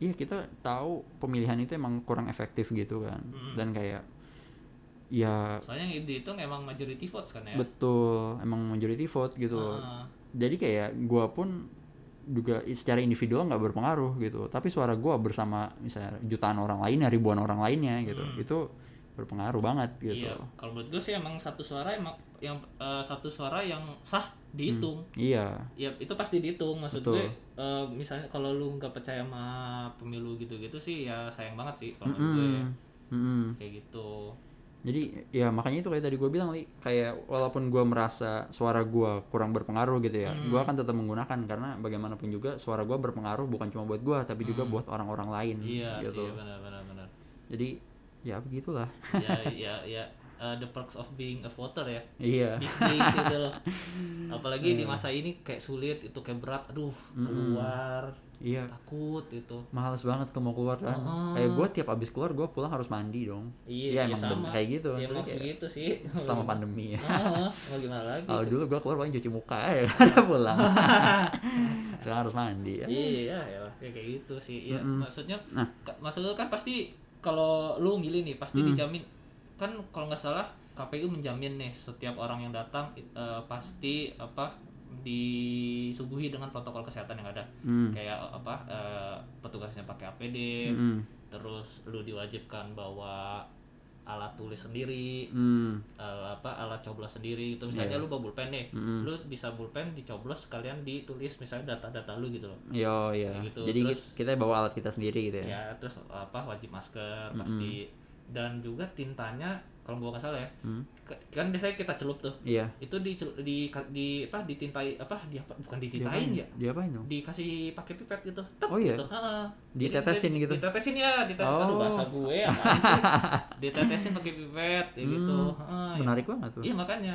Speaker 1: iya kita tahu pemilihan itu emang kurang efektif gitu kan
Speaker 2: Mm.
Speaker 1: dan kayak ya
Speaker 2: soalnya yang dihitung emang majority votes kan ya
Speaker 1: betul emang majority vote gitu loh
Speaker 2: Ah,
Speaker 1: jadi kayak gua pun juga secara individual nggak berpengaruh gitu tapi suara gua bersama misalnya jutaan orang lainnya ribuan orang lainnya gitu
Speaker 2: Hmm.
Speaker 1: itu berpengaruh banget gitu
Speaker 2: iya kalau menurut gue sih emang satu suara emang yang eh, satu suara yang sah dihitung
Speaker 1: iya
Speaker 2: ya itu pasti dihitung maksud
Speaker 1: Betul.
Speaker 2: gue eh, misalnya kalau lu nggak percaya sama pemilu gitu-gitu sih ya sayang banget sih kalau menurut gue ya.
Speaker 1: Mm-mm. Mm-mm.
Speaker 2: kayak gitu
Speaker 1: jadi ya makanya itu kayak tadi gua bilang Li, kayak walaupun gua merasa suara gua kurang berpengaruh gitu ya
Speaker 2: Hmm.
Speaker 1: gua akan tetap menggunakan karena bagaimanapun juga suara gua berpengaruh bukan cuma buat gua tapi juga buat orang-orang lain
Speaker 2: Hmm. iya sih
Speaker 1: gitu
Speaker 2: benar-benar benar
Speaker 1: jadi ya begitulah
Speaker 2: ya ya ya eh, the perks of being a voter ya
Speaker 1: iya
Speaker 2: these days gitu loh apalagi di masa ini kayak sulit itu kayak berat aduh keluar
Speaker 1: iya
Speaker 2: takut gitu. itu
Speaker 1: Males banget tuh mau keluar kan.
Speaker 2: Heeh.
Speaker 1: Kayak gue tiap abis keluar gue pulang harus mandi dong.
Speaker 2: iya, iya
Speaker 1: emang bener
Speaker 2: sama
Speaker 1: kayak gitu.
Speaker 2: ya
Speaker 1: Tapi
Speaker 2: emang
Speaker 1: kayak
Speaker 2: segitu sih
Speaker 1: selama pandemi ya.
Speaker 2: Ah, mau gimana lagi
Speaker 1: Kalau dulu gue keluar paling cuci muka ya kan pulang. Sekarang harus mandi ya.
Speaker 2: Iya, ya, ya kayak gitu sih. Iya,
Speaker 1: Mm-mm.
Speaker 2: maksudnya
Speaker 1: Nah.
Speaker 2: ka- maksud lu kan pasti kalau lu milih nih pasti
Speaker 1: Mm.
Speaker 2: dijamin kan kalau nggak salah KPU menjamin nih setiap orang yang datang eh, pasti apa disuguhi dengan protokol kesehatan yang ada.
Speaker 1: Hmm.
Speaker 2: Kayak apa eh, petugasnya pakai APD,
Speaker 1: Mm-mm.
Speaker 2: terus lu diwajibkan bawa alat tulis sendiri,
Speaker 1: Mm.
Speaker 2: eh, apa alat coblos sendiri gitu.
Speaker 1: Iya.
Speaker 2: Misalnya lu bawa pulpen nih,
Speaker 1: Mm-mm.
Speaker 2: lu bisa pulpen dicoblos sekalian ditulis misalnya data-data lu gitu loh.
Speaker 1: Yo ya.
Speaker 2: Kayak gitu.
Speaker 1: Jadi
Speaker 2: Terus-
Speaker 1: kita bawa alat kita sendiri gitu ya.
Speaker 2: ya terus apa wajib masker pasti dan juga tintanya kalau gua nggak salah ya
Speaker 1: Hmm.
Speaker 2: ke- kan biasanya kita celup tuh
Speaker 1: Iya.
Speaker 2: itu di di di apa ditintai apa di apa bukan ditintain ya
Speaker 1: Dia apain dong?
Speaker 2: dikasih pakai pipet gitu Tek,
Speaker 1: Oh iya?
Speaker 2: gitu. Ha-ha. Jadi
Speaker 1: Ditetesin
Speaker 2: dia-
Speaker 1: gitu?
Speaker 2: ditetesin ya ditetesin aduh
Speaker 1: Oh.
Speaker 2: bahasa gue apaan sih ditetesin pakai pipet ya gitu
Speaker 1: Hmm,
Speaker 2: Ha-ha, ya.
Speaker 1: Menarik banget tuh. Iya.
Speaker 2: iya makanya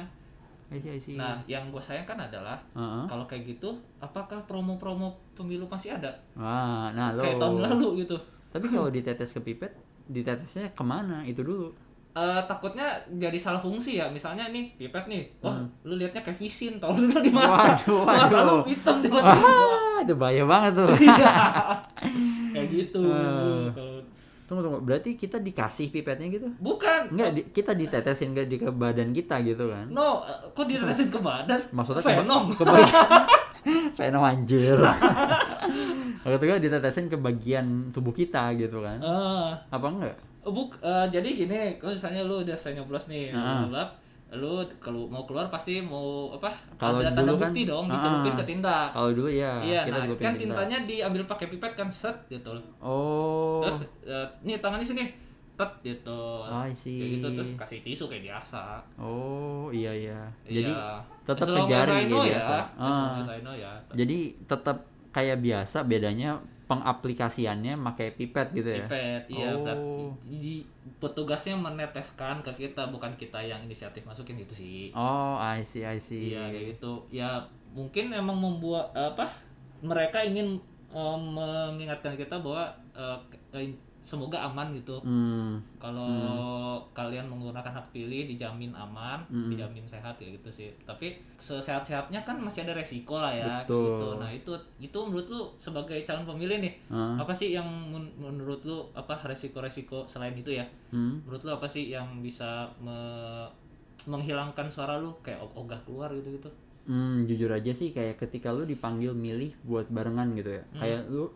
Speaker 1: I see, I see.
Speaker 2: nah yang gue sayangkan adalah
Speaker 1: Heeh.
Speaker 2: kalau kayak gitu apakah promo-promo pemilu masih ada
Speaker 1: Wah, nah lo.
Speaker 2: kayak tahun lalu gitu
Speaker 1: Tapi kalau ditetes ke pipet, ditetesnya kemana? Itu dulu.
Speaker 2: Eh, takutnya jadi salah fungsi ya misalnya nih pipet nih wah lu liatnya kayak visin tau lu di
Speaker 1: Hmm.
Speaker 2: mata
Speaker 1: Waduh,
Speaker 2: mata lu
Speaker 1: waduh. Ah.
Speaker 2: hitam tiba-tiba
Speaker 1: Wah, itu bahaya banget tuh.
Speaker 2: Iya. kayak gitu
Speaker 1: Eh.
Speaker 2: Kalau-
Speaker 1: Tunggu tunggu, berarti kita dikasih pipetnya gitu?
Speaker 2: bukan
Speaker 1: Enggak, di- kita ditetesin ke, di ke badan kita gitu kan?
Speaker 2: no eh, kok diresin ke badan
Speaker 1: Maksudnya ke ba-
Speaker 2: venom
Speaker 1: Ke bagian Venom anjir. Waktu itu kan ditetesin ke bagian tubuh kita gitu kan?
Speaker 2: Eh,
Speaker 1: Apa enggak?
Speaker 2: buk eh, jadi gini kalau misalnya lu udah saya nyoblos nih lu
Speaker 1: Ah.
Speaker 2: nyoblap, lu kalau mau keluar pasti mau apa
Speaker 1: Kalau
Speaker 2: ada
Speaker 1: dulu
Speaker 2: tanda
Speaker 1: kan-
Speaker 2: bukti dong
Speaker 1: Ah.
Speaker 2: dicelupin ke tinta
Speaker 1: Kalau dulu ya,
Speaker 2: iya
Speaker 1: kita
Speaker 2: nah
Speaker 1: juga
Speaker 2: kan
Speaker 1: pinta.
Speaker 2: tintanya diambil pakai pipet kan set gitu loh
Speaker 1: Oh.
Speaker 2: terus eh, nih tangan di sini tet gitu
Speaker 1: Oh, I see.
Speaker 2: kayak gitu terus kasih tisu kayak biasa
Speaker 1: Oh, iya iya. Jadi
Speaker 2: Iya.
Speaker 1: tetap
Speaker 2: As
Speaker 1: ke
Speaker 2: long as
Speaker 1: jari
Speaker 2: I
Speaker 1: kayak
Speaker 2: know ya
Speaker 1: biasa.
Speaker 2: As long
Speaker 1: Ah.
Speaker 2: as I know ya
Speaker 1: Jadi tetap kayak biasa, bedanya pengaplikasiannya pakai pipet gitu ya.
Speaker 2: pipet iya
Speaker 1: Oh.
Speaker 2: berarti jadi petugasnya meneteskan ke kita bukan kita yang inisiatif masukin gitu sih
Speaker 1: Oh, I see, I see.
Speaker 2: iya kayak gitu ya mungkin emang membuat apa mereka ingin eh, mengingatkan kita bahwa eh, ke- eh, semoga aman gitu
Speaker 1: Hmm.
Speaker 2: kalau kalian menggunakan hak pilih dijamin aman,
Speaker 1: Hmm.
Speaker 2: dijamin sehat kayak gitu sih. Tapi sesehat-sehatnya kan masih ada resiko lah ya kayak
Speaker 1: Betul.
Speaker 2: gitu. Nah, itu itu menurut lu sebagai calon pemilih nih,
Speaker 1: Ah.
Speaker 2: apa sih yang men- menurut lu apa resiko-resiko selain itu ya?
Speaker 1: Hmm.
Speaker 2: Menurut lu apa sih yang bisa me- menghilangkan suara lu kayak og- ogah keluar gitu gitu-gitu?
Speaker 1: Hmm, jujur aja sih kayak ketika lu dipanggil milih buat barengan gitu ya.
Speaker 2: Hmm.
Speaker 1: Kayak lu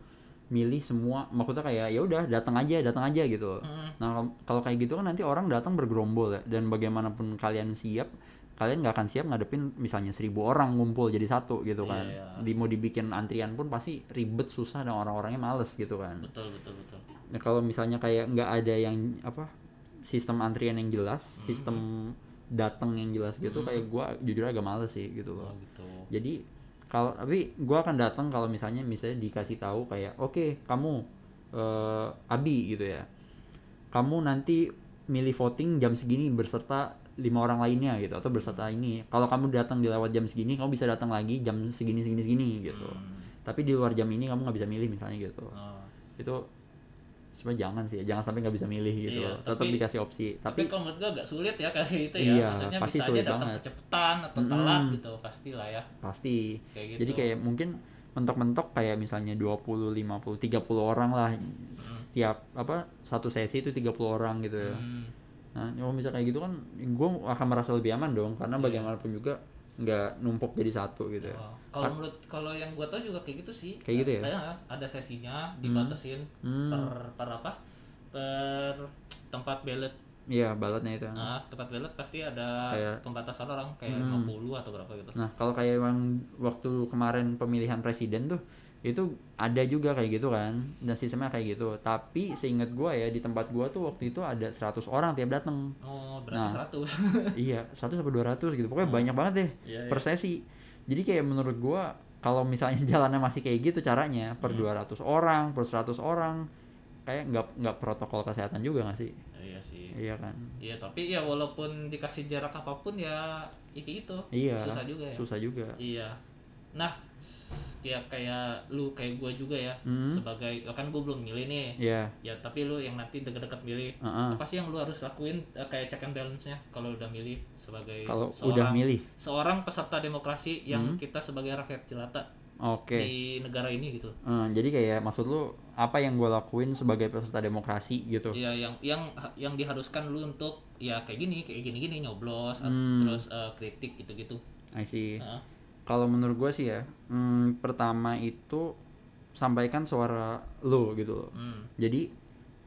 Speaker 1: milih semua maksudnya kayak ya udah datang aja, datang aja gitu. loh.
Speaker 2: Heeh.
Speaker 1: Nah, kalau- kalau kayak gitu kan nanti orang datang bergerombol ya dan bagaimanapun kalian siap, kalian nggak akan siap ngadepin misalnya seribu orang ngumpul jadi satu gitu kan.
Speaker 2: Iya.
Speaker 1: Di mau dibikin antrian pun pasti ribet, susah dan orang-orangnya males gitu kan.
Speaker 2: Hmm. Betul, betul, betul.
Speaker 1: Nah, kalau misalnya kayak nggak ada yang apa sistem antrian yang jelas, sistem datang yang jelas gitu kayak gua jujur agak males sih gitu loh
Speaker 2: Oh, gitu.
Speaker 1: jadi kalau tapi gue akan datang kalau misalnya misalnya dikasih tahu kayak oke kamu eh, Abi gitu ya kamu nanti milih voting jam segini berserta lima orang lainnya gitu atau berserta ini kalau kamu datang di lewat jam segini kamu bisa datang lagi jam segini segini segini gitu
Speaker 2: Hmm.
Speaker 1: tapi di luar jam ini kamu nggak bisa milih misalnya gitu
Speaker 2: Oh.
Speaker 1: itu sebenarnya jangan sih jangan sampai nggak bisa milih gitu
Speaker 2: Iya,
Speaker 1: tetap
Speaker 2: tapi-
Speaker 1: dikasih opsi
Speaker 2: Tapi,
Speaker 1: tapi,
Speaker 2: kalau menurut gue agak sulit ya kayak gitu ya.
Speaker 1: Iya,
Speaker 2: Maksudnya
Speaker 1: pasti
Speaker 2: bisa
Speaker 1: sulit
Speaker 2: aja datang
Speaker 1: banget. Hmm.
Speaker 2: kecepetan atau
Speaker 1: Mm-mm.
Speaker 2: telat gitu pastilah ya.
Speaker 1: pasti
Speaker 2: Kayak gitu.
Speaker 1: Jadi kayak mungkin mentok-mentok kayak misalnya 20, 50, 30 orang lah
Speaker 2: Hmm.
Speaker 1: setiap apa satu sesi itu 30 orang gitu ya.
Speaker 2: Hmm.
Speaker 1: Nah, kalau bisa kayak gitu kan gue akan merasa lebih aman dong karena
Speaker 2: Iya.
Speaker 1: bagaimanapun juga nggak numpuk jadi satu gitu ya.
Speaker 2: Oh. Kalau
Speaker 1: Ah.
Speaker 2: menurut kalau yang gue tau juga kayak gitu sih.
Speaker 1: Kayak gitu ya?
Speaker 2: Ada, ada sesinya dibatasin per,
Speaker 1: Hmm,
Speaker 2: per apa? Per tempat ballot.
Speaker 1: iya balatnya itu.
Speaker 2: Nah, tempat ballot pasti ada
Speaker 1: Kayak-
Speaker 2: pembatasan orang kayak
Speaker 1: Hmm.
Speaker 2: 50 atau berapa gitu.
Speaker 1: Nah, kalau kayak yang waktu kemarin pemilihan presiden tuh itu ada juga kayak gitu kan dan sistemnya kayak gitu. Tapi seingat gua ya di tempat gua tuh waktu itu ada 100 orang tiap datang.
Speaker 2: Oh,
Speaker 1: Nah.
Speaker 2: berarti 100.
Speaker 1: iya, 100 sampai 200 gitu. Pokoknya banyak banget deh.
Speaker 2: Iya, iya.
Speaker 1: per sesi. Jadi kayak menurut gua kalau misalnya jalannya masih kayak gitu caranya per 200 orang, per 100 orang kayak nggak nggak protokol kesehatan juga nggak sih?
Speaker 2: Iya sih.
Speaker 1: Iya kan?
Speaker 2: Iya, tapi ya walaupun dikasih jarak apapun ya itu itu.
Speaker 1: Iya.
Speaker 2: Susah juga ya.
Speaker 1: Susah juga.
Speaker 2: Iya. Nah, ya kayak lu kayak gua juga ya.
Speaker 1: Hmm.
Speaker 2: Sebagai ya kan gua belum milih nih.
Speaker 1: Iya.
Speaker 2: Ya, tapi lu yang nanti deket-deket milih.
Speaker 1: Heeh.
Speaker 2: Apa sih yang lu harus lakuin eh, kayak check and balance-nya kalau udah milih sebagai
Speaker 1: Kalau udah
Speaker 2: seorang
Speaker 1: milih.
Speaker 2: seorang peserta demokrasi yang
Speaker 1: Hmm.
Speaker 2: kita sebagai rakyat jelata
Speaker 1: Oke.
Speaker 2: di negara ini gitu.
Speaker 1: Eh, jadi kayak maksud lu apa yang gua lakuin sebagai peserta demokrasi gitu?
Speaker 2: Iya, yang yang yang diharuskan lu untuk ya kayak gini, kayak gini-gini nyoblos at-
Speaker 1: Hmm.
Speaker 2: terus eh, kritik gitu-gitu.
Speaker 1: I see.
Speaker 2: Heeh.
Speaker 1: Kalau menurut gua sih ya, hmm, pertama itu sampaikan suara lu gitu loh.
Speaker 2: Hmm.
Speaker 1: jadi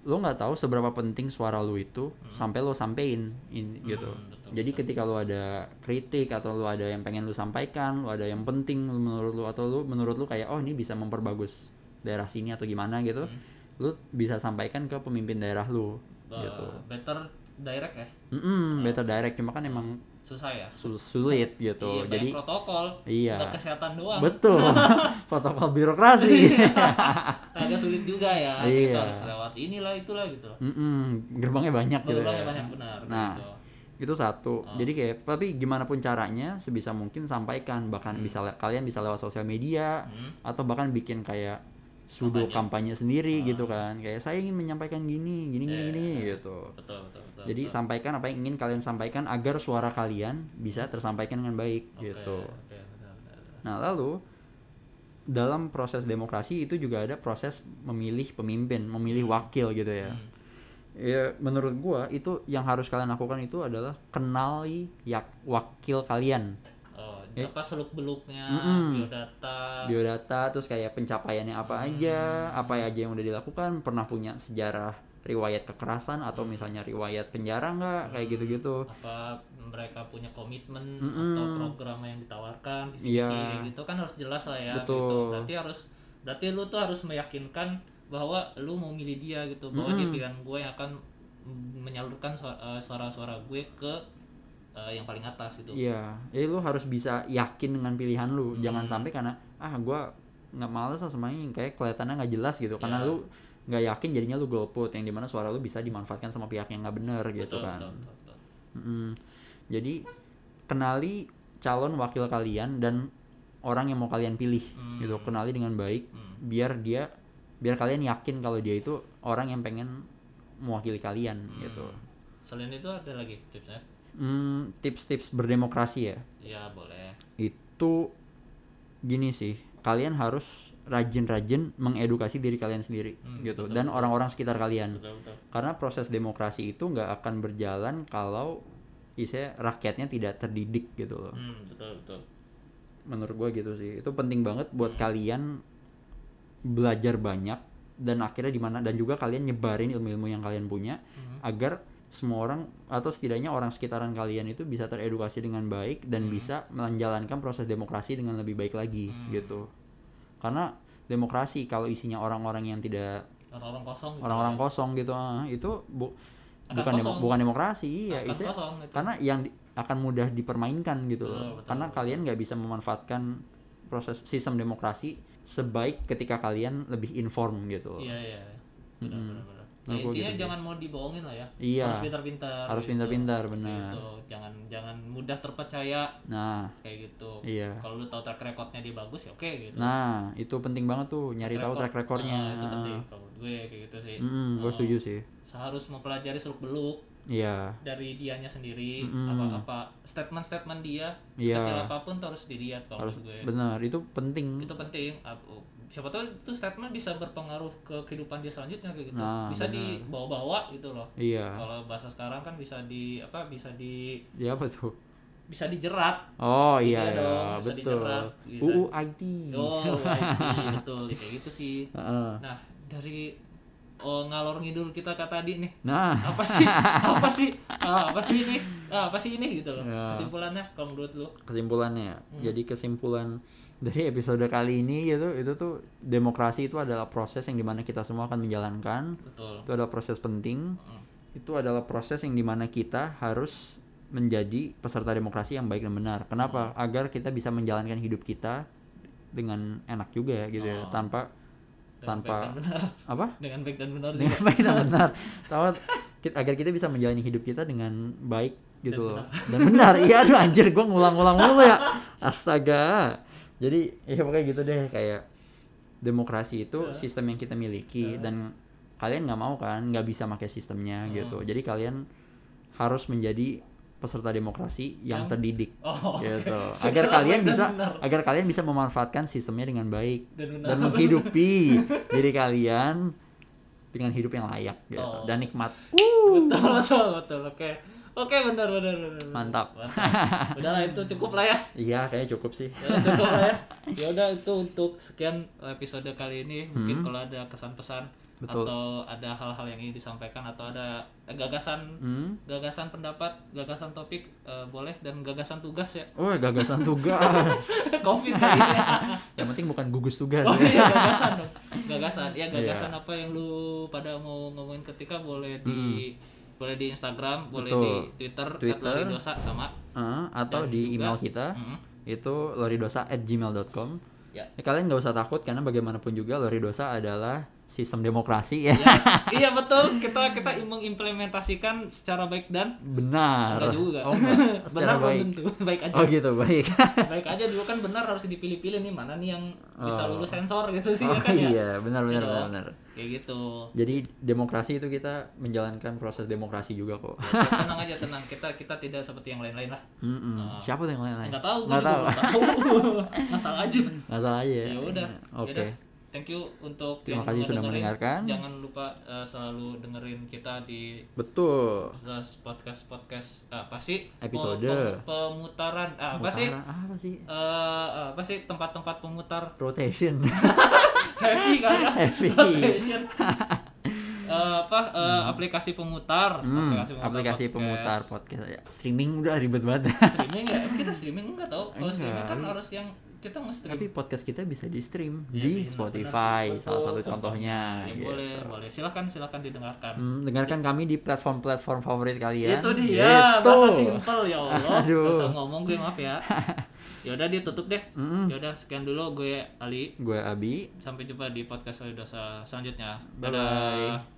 Speaker 1: lo nggak tahu seberapa penting suara lo itu sampai lo sampein in- gitu
Speaker 2: Hmm, betul,
Speaker 1: jadi ketika lo ada kritik atau lo ada yang pengen lo sampaikan lo ada yang penting menurut lo atau lo menurut lo kayak oh ini bisa memperbagus daerah sini atau gimana gitu
Speaker 2: Hmm.
Speaker 1: lo bisa sampaikan ke pemimpin daerah lo
Speaker 2: Eh,
Speaker 1: gitu
Speaker 2: Better direct ya.
Speaker 1: Mm-mm, better direct cuma kan emang
Speaker 2: Susah ya.
Speaker 1: sul- sulit gitu
Speaker 2: Iya,
Speaker 1: jadi
Speaker 2: banyak protokol
Speaker 1: iya
Speaker 2: untuk kesehatan doang.
Speaker 1: betul protokol birokrasi
Speaker 2: Iya. Agak sulit juga ya.
Speaker 1: Iya.
Speaker 2: Kita harus lewat inilah itulah gitu.
Speaker 1: Mm-mm, gerbangnya banyak gitu
Speaker 2: Berulangnya
Speaker 1: ya.
Speaker 2: banyak benar
Speaker 1: Nah,
Speaker 2: gitu.
Speaker 1: itu satu
Speaker 2: Oh.
Speaker 1: jadi kayak tapi gimana pun caranya sebisa mungkin sampaikan bahkan bisa le- kalian bisa lewat sosial media
Speaker 2: Hmm.
Speaker 1: atau bahkan bikin kayak pseudo kampanye, sendiri
Speaker 2: Ah.
Speaker 1: gitu kan kayak saya ingin menyampaikan gini gini gini
Speaker 2: Iya,
Speaker 1: gini
Speaker 2: iya.
Speaker 1: gitu
Speaker 2: Betul, betul, betul.
Speaker 1: jadi
Speaker 2: betul.
Speaker 1: sampaikan apa yang ingin kalian sampaikan agar suara kalian bisa tersampaikan dengan baik
Speaker 2: Oke,
Speaker 1: gitu
Speaker 2: oke, benar, benar, benar.
Speaker 1: nah lalu dalam proses demokrasi itu juga ada proses memilih pemimpin memilih wakil gitu ya
Speaker 2: Hmm.
Speaker 1: Ya, menurut gua itu yang harus kalian lakukan itu adalah kenali yak wakil kalian,
Speaker 2: Oh,
Speaker 1: Eh.
Speaker 2: apa seluk-beluknya,
Speaker 1: Mm-mm.
Speaker 2: biodata.
Speaker 1: biodata, terus kayak pencapaiannya apa aja, apa aja yang udah dilakukan, pernah punya sejarah riwayat kekerasan atau misalnya riwayat penjara nggak, kayak gitu-gitu.
Speaker 2: apa mereka punya komitmen
Speaker 1: Mm-mm.
Speaker 2: atau program yang ditawarkan visi
Speaker 1: Iya.
Speaker 2: kayak gitu kan harus jelas lah ya gitu
Speaker 1: Betul.
Speaker 2: berarti harus berarti lu tuh harus meyakinkan bahwa lu mau milih dia gitu bahwa dia
Speaker 1: Mm-mm.
Speaker 2: pilihan gue yang akan menyalurkan su- eh, suara-suara gue ke eh, yang paling atas gitu
Speaker 1: Iya, jadi lu harus bisa yakin dengan pilihan lu, jangan
Speaker 2: Hmm.
Speaker 1: sampai karena ah gua nggak males lah sama ini, kayak kelihatannya nggak jelas gitu, karena
Speaker 2: Iya.
Speaker 1: lu nggak yakin jadinya lu golput yang dimana suara lu bisa dimanfaatkan sama pihak yang nggak bener gitu
Speaker 2: betul,
Speaker 1: kan.
Speaker 2: betul, betul, betul.
Speaker 1: Mm-mm. Jadi kenali calon wakil kalian dan orang yang mau kalian pilih
Speaker 2: Hmm.
Speaker 1: gitu kenali dengan baik
Speaker 2: Hmm.
Speaker 1: biar dia biar kalian yakin kalau dia itu orang yang pengen mewakili kalian
Speaker 2: Hmm.
Speaker 1: gitu.
Speaker 2: selain itu ada lagi tipsnya
Speaker 1: Hmm, tips-tips berdemokrasi ya
Speaker 2: ya boleh
Speaker 1: itu gini sih kalian harus rajin-rajin mengedukasi diri kalian sendiri
Speaker 2: Hmm,
Speaker 1: gitu
Speaker 2: betul,
Speaker 1: dan
Speaker 2: betul.
Speaker 1: orang-orang sekitar kalian
Speaker 2: betul betul
Speaker 1: karena proses demokrasi itu nggak akan berjalan kalau isinya rakyatnya tidak terdidik gitu loh
Speaker 2: hmm, betul betul
Speaker 1: menurut gua gitu sih itu penting banget
Speaker 2: Hmm.
Speaker 1: buat kalian belajar banyak dan akhirnya di mana dan juga kalian nyebarin ilmu-ilmu yang kalian punya
Speaker 2: Hmm.
Speaker 1: agar semua orang atau setidaknya orang sekitaran kalian itu bisa teredukasi dengan baik dan bisa menjalankan proses demokrasi dengan lebih baik lagi
Speaker 2: Hmm.
Speaker 1: gitu karena demokrasi kalau isinya orang-orang yang tidak
Speaker 2: orang-orang kosong gitu
Speaker 1: orang-orang
Speaker 2: ya.
Speaker 1: kosong gitu ah, itu bu-
Speaker 2: Akan
Speaker 1: bukan demo-
Speaker 2: kosong.
Speaker 1: bukan demokrasi iya
Speaker 2: Akan
Speaker 1: isinya-
Speaker 2: kosong gitu.
Speaker 1: karena yang di- akan mudah dipermainkan gitu
Speaker 2: Betul,
Speaker 1: loh
Speaker 2: betul,
Speaker 1: karena
Speaker 2: betul.
Speaker 1: kalian nggak bisa memanfaatkan proses sistem demokrasi sebaik ketika kalian lebih inform gitu loh.
Speaker 2: Iya iya. Benar
Speaker 1: Mm-mm.
Speaker 2: benar benar. Ya,
Speaker 1: Menurut gua
Speaker 2: intinya
Speaker 1: gitu sih.
Speaker 2: jangan mau dibohongin lah ya.
Speaker 1: Iya.
Speaker 2: Harus pintar-pintar.
Speaker 1: Harus
Speaker 2: gitu.
Speaker 1: pintar-pintar, benar.
Speaker 2: Gitu. Jangan jangan mudah terpercaya
Speaker 1: Nah,
Speaker 2: kayak gitu.
Speaker 1: Iya.
Speaker 2: Kalau lu tahu track recordnya dia bagus ya oke gitu.
Speaker 1: nah itu penting banget tuh nyari tahu track
Speaker 2: record-
Speaker 1: recordnya. Ah.
Speaker 2: Nah, itu penting kalau menurut gue kayak gitu sih.
Speaker 1: Mm, gue
Speaker 2: Oh,
Speaker 1: setuju sih.
Speaker 2: Seharus mempelajari seluk beluk
Speaker 1: Iya,
Speaker 2: dari dianya sendiri
Speaker 1: Mm-mm.
Speaker 2: apa-apa statement-statement dia
Speaker 1: Iya.
Speaker 2: sekecil apapun tuh harus dilihat kalau
Speaker 1: harus
Speaker 2: menurut gue.
Speaker 1: benar. Itu penting.
Speaker 2: itu penting Ap- oh, siapa tahu itu statement bisa berpengaruh ke kehidupan dia selanjutnya kayak gitu
Speaker 1: Nah,
Speaker 2: bisa
Speaker 1: benar.
Speaker 2: dibawa-bawa gitu loh
Speaker 1: Iya.
Speaker 2: kalau bahasa sekarang kan bisa di apa bisa di
Speaker 1: Ya apa tuh?
Speaker 2: bisa dijerat
Speaker 1: Oh iya,
Speaker 2: Iya
Speaker 1: ya,
Speaker 2: dong, bisa
Speaker 1: betul.
Speaker 2: dijerat, bisa.
Speaker 1: UU IT.
Speaker 2: oh IT, betul kayak gitu sih
Speaker 1: Heeh.
Speaker 2: nah dari oh, ngalor ngidul kita kata tadi nih
Speaker 1: Nah,
Speaker 2: apa sih apa sih Ah, apa sih ini Ah, apa sih ini gitu loh
Speaker 1: Ya.
Speaker 2: kesimpulannya kalau menurut lu
Speaker 1: kesimpulannya.
Speaker 2: Hmm.
Speaker 1: Jadi kesimpulan dari episode kali ini gitu, itu tuh demokrasi itu adalah proses yang dimana kita semua akan menjalankan.
Speaker 2: betul
Speaker 1: Itu adalah proses penting.
Speaker 2: Mm.
Speaker 1: Itu adalah proses yang dimana kita harus menjadi peserta demokrasi yang baik dan benar.
Speaker 2: Hmm.
Speaker 1: Kenapa? Agar kita bisa menjalankan hidup kita dengan enak juga gitu ya,
Speaker 2: Oh.
Speaker 1: tanpa
Speaker 2: Dengan baik
Speaker 1: tanpa
Speaker 2: dan benar
Speaker 1: apa?
Speaker 2: dengan baik dan benar
Speaker 1: dengan
Speaker 2: juga.
Speaker 1: baik dan benar tahu ki- agar kita bisa menjalani hidup kita dengan baik gitu loh dan benar iya aduh anjir gue ngulang-ngulang mulu ya astaga jadi ya pokoknya gitu deh kayak demokrasi itu
Speaker 2: Ya.
Speaker 1: sistem yang kita miliki
Speaker 2: Ya.
Speaker 1: dan kalian nggak mau kan nggak bisa pakai sistemnya
Speaker 2: Hmm.
Speaker 1: gitu jadi kalian harus menjadi peserta demokrasi yang
Speaker 2: Yang-
Speaker 1: terdidik
Speaker 2: oh, oke.
Speaker 1: gitu agar
Speaker 2: Secara
Speaker 1: kalian
Speaker 2: baik dan
Speaker 1: bisa
Speaker 2: benar.
Speaker 1: agar kalian bisa memanfaatkan sistemnya dengan baik
Speaker 2: dan benar
Speaker 1: dan menghidupi diri kalian dengan hidup yang layak gitu
Speaker 2: Oh.
Speaker 1: dan nikmat.
Speaker 2: betul betul betul oke oke benar benar benar benar.
Speaker 1: Mantap.
Speaker 2: mantap udah lah itu cukup lah ya
Speaker 1: Iya, kayaknya cukup sih.
Speaker 2: Ya, cukup lah ya ya udah itu untuk sekian episode kali ini mungkin
Speaker 1: Hmm.
Speaker 2: kalau ada kesan pesan
Speaker 1: Betul.
Speaker 2: atau ada hal-hal yang ingin disampaikan atau ada gagasan
Speaker 1: Hmm.
Speaker 2: gagasan pendapat gagasan topik eh, boleh dan gagasan tugas ya
Speaker 1: Oh, gagasan tugas.
Speaker 2: covid kali ini ya.
Speaker 1: yang penting bukan gugus tugas.
Speaker 2: Oh
Speaker 1: ya.
Speaker 2: iya gagasan dong. Gagasan. Ya gagasan
Speaker 1: Iya.
Speaker 2: apa yang lu pada mau ngomongin ketika boleh di boleh di Instagram, boleh
Speaker 1: Hmm. Betul.
Speaker 2: di Twitter,
Speaker 1: Twitter.
Speaker 2: dosa sama.
Speaker 1: Eh, atau
Speaker 2: Dan
Speaker 1: di
Speaker 2: juga-
Speaker 1: email kita
Speaker 2: Mm.
Speaker 1: itu loridosa@gmail.com.
Speaker 2: Ya.
Speaker 1: Mm-hmm. Ya, Kalian nggak usah takut karena bagaimanapun juga loridosa adalah sistem demokrasi ya.
Speaker 2: Ya, iya betul. Kita kita mengimplementasikan secara baik dan
Speaker 1: Benar.
Speaker 2: enggak juga.
Speaker 1: Oh, enggak.
Speaker 2: benar
Speaker 1: Secara
Speaker 2: belum
Speaker 1: baik.
Speaker 2: tentu. Baik aja.
Speaker 1: Oh gitu, baik.
Speaker 2: Baik aja dulu kan benar harus dipilih-pilih nih mana nih yang bisa
Speaker 1: Oh.
Speaker 2: lulus sensor gitu sih
Speaker 1: Oh
Speaker 2: ya kan ya.
Speaker 1: iya, benar benar
Speaker 2: Iya
Speaker 1: benar
Speaker 2: dong.
Speaker 1: benar.
Speaker 2: Kayak gitu.
Speaker 1: Jadi demokrasi itu kita menjalankan proses demokrasi juga kok.
Speaker 2: Ya, Tenang aja tenang. Kita kita tidak seperti yang lain-lain lah.
Speaker 1: Mm-mm.
Speaker 2: Nah.
Speaker 1: Siapa tuh yang lain-lain?
Speaker 2: Enggak tahu gua
Speaker 1: Nggak
Speaker 2: juga
Speaker 1: tahu.
Speaker 2: nggak tahu. Masalah aja.
Speaker 1: Nggak salah aja. Iya,
Speaker 2: ya udah
Speaker 1: Oke.
Speaker 2: Yaudah. thank you untuk
Speaker 1: Terima
Speaker 2: yang
Speaker 1: kasih
Speaker 2: udah
Speaker 1: sudah
Speaker 2: dengerin.
Speaker 1: mendengarkan.
Speaker 2: jangan lupa eh, selalu dengerin kita di
Speaker 1: Betul.
Speaker 2: podcast podcast eh, apa sih Oh,
Speaker 1: Episode.
Speaker 2: Pem- pemutaran ah, apa sih
Speaker 1: Mutara- Apa sih?
Speaker 2: Eh, apa sih tempat-tempat pemutar
Speaker 1: Rotation.
Speaker 2: heavy kan ya?
Speaker 1: Heavy.
Speaker 2: Rotation. Eh, apa eh, aplikasi pemutar
Speaker 1: Hmm, aplikasi
Speaker 2: podcast.
Speaker 1: pemutar podcast. ya. Streaming udah ribet banget.
Speaker 2: streaming ya kita streaming enggak tahu kalau streaming kan
Speaker 1: Enggak.
Speaker 2: harus yang kita nge-stream
Speaker 1: Tapi podcast kita bisa di stream
Speaker 2: Ya,
Speaker 1: di
Speaker 2: benar,
Speaker 1: Spotify,
Speaker 2: benar sih.
Speaker 1: salah satu
Speaker 2: Betul.
Speaker 1: contohnya.
Speaker 2: Ya,
Speaker 1: gitu.
Speaker 2: boleh boleh silahkan silahkan didengarkan
Speaker 1: Hmm, dengarkan kami di platform-platform favorit kalian.
Speaker 2: Itu dia, bahasa
Speaker 1: Iya, Gitu.
Speaker 2: simpel ya Allah.
Speaker 1: Aduh.
Speaker 2: Bahasa ngomong gue maaf ya. Ya udah ditutup deh.
Speaker 1: Mm-mm.
Speaker 2: Ya udah sekian dulu gue Ali.
Speaker 1: Hmm, Gue Abi.
Speaker 2: Sampai jumpa di podcast Solidosa selanjutnya.
Speaker 1: Bye-bye.